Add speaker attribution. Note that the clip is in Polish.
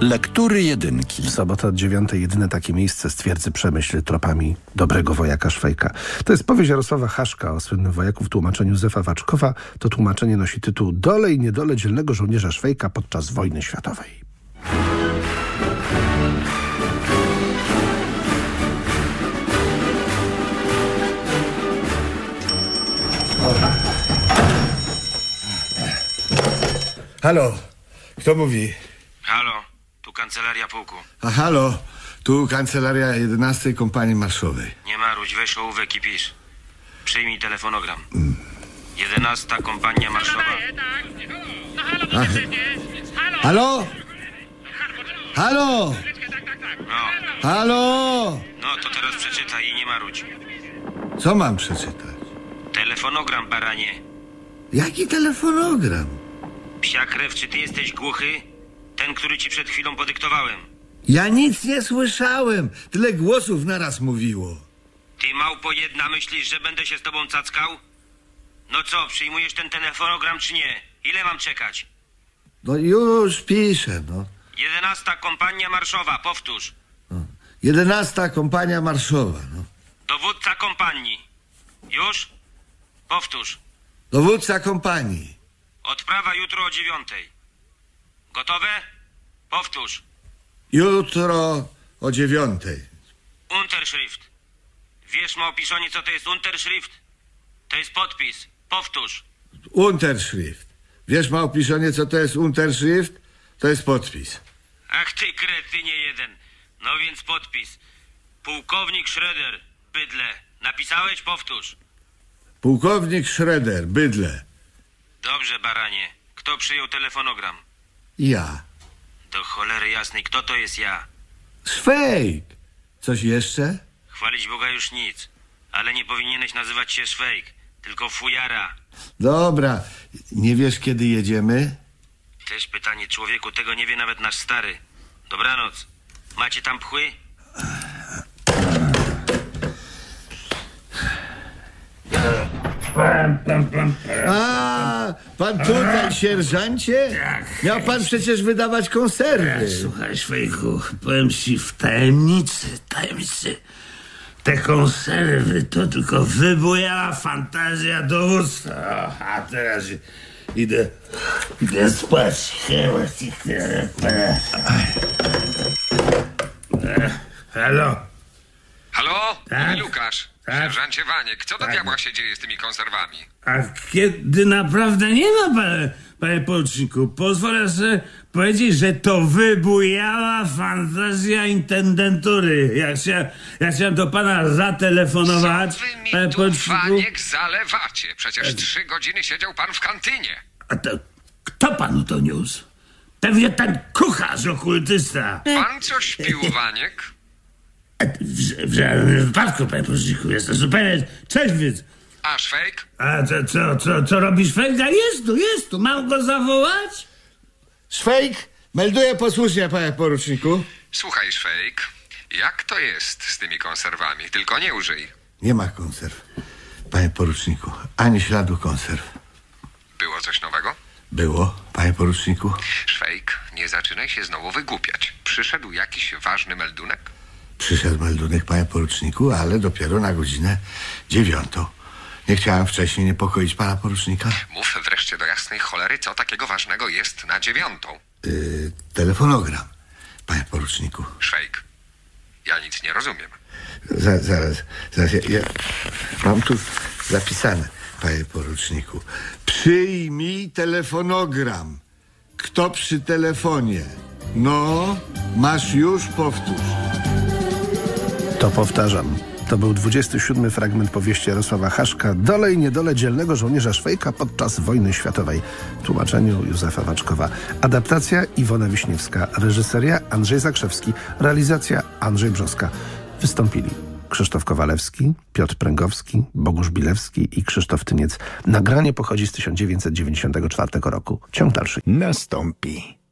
Speaker 1: Lektury jedynki.
Speaker 2: Sobota od dziewiątej, jedyne takie miejsce z twierdzy Przemyśl tropami dobrego wojaka Szwejka. To jest powieść Jarosława Haszka o słynnym wojaku w tłumaczeniu Józefa Waczkowa. To tłumaczenie nosi tytuł Dole i niedole dzielnego żołnierza Szwejka podczas wojny światowej.
Speaker 3: Halo, kto mówi?
Speaker 4: Halo, tu kancelaria pułku.
Speaker 3: A halo, tu kancelaria 11 Kompanii Marszowej.
Speaker 4: Nie marudź, weź ołówek i pisz. Przyjmij telefonogram. 11 kompania marszowa.
Speaker 3: Ach. Halo? Halo?
Speaker 4: No,
Speaker 3: Halo?
Speaker 4: no to teraz przeczytaj i nie marudź.
Speaker 3: Co mam przeczytać?
Speaker 4: Telefonogram, baranie.
Speaker 3: Jaki telefonogram?
Speaker 4: Psia krew, czy ty jesteś głuchy? Ten, który ci przed chwilą podyktowałem.
Speaker 3: Ja nic nie słyszałem. Tyle głosów naraz mówiło.
Speaker 4: Ty małpo jedna myślisz, że będę się z tobą cackał? No co, przyjmujesz ten telefonogram czy nie? Ile mam czekać?
Speaker 3: No już piszę, no.
Speaker 4: 11 kompania marszowa, powtórz.
Speaker 3: 11 Kompania Marszowa, no.
Speaker 4: Dowódca kompanii. Już? Powtórz.
Speaker 3: Dowódca kompanii.
Speaker 4: Odprawa jutro o dziewiątej. Gotowe? Powtórz.
Speaker 3: Jutro o dziewiątej.
Speaker 4: Unterschrift. Wiesz, Małpiszonie, co to jest Unterschrift? To jest podpis. Powtórz.
Speaker 3: Unterschrift. Wiesz, małpiszonie, co to jest Unterschrift? To jest podpis.
Speaker 4: Ach ty kretynie jeden. No więc podpis. Pułkownik Schroeder. Bydle. Napisałeś? Powtórz.
Speaker 3: Pułkownik Schroeder, bydlę.
Speaker 4: Dobrze, baranie. Kto przyjął telefonogram?
Speaker 3: Ja.
Speaker 4: Do cholery jasnej, kto to jest ja?
Speaker 3: Szwejk! Coś jeszcze?
Speaker 4: Chwalić Boga już nic. Ale nie powinieneś nazywać się Szwejk, tylko fujara.
Speaker 3: Dobra. Nie wiesz, kiedy jedziemy?
Speaker 4: Też pytanie, człowieku, tego nie wie nawet nasz stary. Dobranoc. Macie tam pchły?
Speaker 3: A, pan tutaj, sierżancie? Miał pan przecież wydawać konserwy.
Speaker 5: Słuchaj, Szwejku, powiem ci w tajemnicy, tajemnicy. Te konserwy to tylko wybujała fantazja dowództwa. O, A teraz idę, idę spać. E, Halo?
Speaker 6: Halo?
Speaker 5: Tak.
Speaker 6: I Lukasz.
Speaker 5: Tak.
Speaker 6: Sierżancie Waniek, co do diabła się dzieje z tymi konserwami?
Speaker 5: A kiedy naprawdę nie ma, panie, panie poruczniku, pozwolę sobie powiedzieć, że to wybujała fantazja intendentury. Ja chciałem, ja chciałem do pana
Speaker 6: Co
Speaker 5: zatelefonować,
Speaker 6: wy mi
Speaker 5: panie
Speaker 6: tu,
Speaker 5: poruczniku.
Speaker 6: Waniek, zalewacie? Przecież trzy godziny siedział pan w kantynie.
Speaker 5: A to, kto panu to niósł? Pewnie ten kucharz okultysta.
Speaker 6: Pan coś pił, Waniek?
Speaker 5: A W, w żadnym wypadku, panie poruczniku, jestem zupełnie trzeźwiec.
Speaker 6: A szwejk?
Speaker 5: A co, co, co, co robisz, Felga? Jest tu, jest tu, mam go zawołać?
Speaker 3: Szwejk, melduję posłusznie, panie poruczniku.
Speaker 6: Słuchaj, szwejk, jak to jest z tymi konserwami? Tylko nie użyj.
Speaker 3: Nie ma konserw, panie poruczniku. Ani śladu konserw.
Speaker 6: Było coś nowego?
Speaker 3: Było, panie poruczniku?
Speaker 6: Szwejk, nie zaczynaj się znowu wygłupiać. Przyszedł jakiś ważny meldunek?
Speaker 3: Przyszedł meldunek, panie poruczniku, ale dopiero na godzinę dziewiątą. Nie chciałem wcześniej niepokoić pana porucznika.
Speaker 6: Mów wreszcie do jasnej cholery, co takiego ważnego jest na dziewiątą.
Speaker 3: Yy, telefonogram, panie poruczniku.
Speaker 6: Szwejk, ja nic nie rozumiem.
Speaker 3: Za, zaraz, zaraz. Ja, ja mam tu zapisane, panie poruczniku. Przyjmij telefonogram. Kto przy telefonie? No, masz już powtórz.
Speaker 2: To powtarzam. To był 27 fragment powieści Jarosława Haszka Dole i niedole dzielnego żołnierza Szwejka podczas wojny światowej w tłumaczeniu Józefa Waczkowa. Adaptacja Iwona Wiśniewska, reżyseria Andrzej Zakrzewski, realizacja Andrzej Brzoska. Wystąpili Krzysztof Kowalewski, Piotr Pręgowski, Bogusz Bilewski i Krzysztof Tyniec. Nagranie pochodzi z 1994 roku. Ciąg dalszy.
Speaker 7: nastąpi.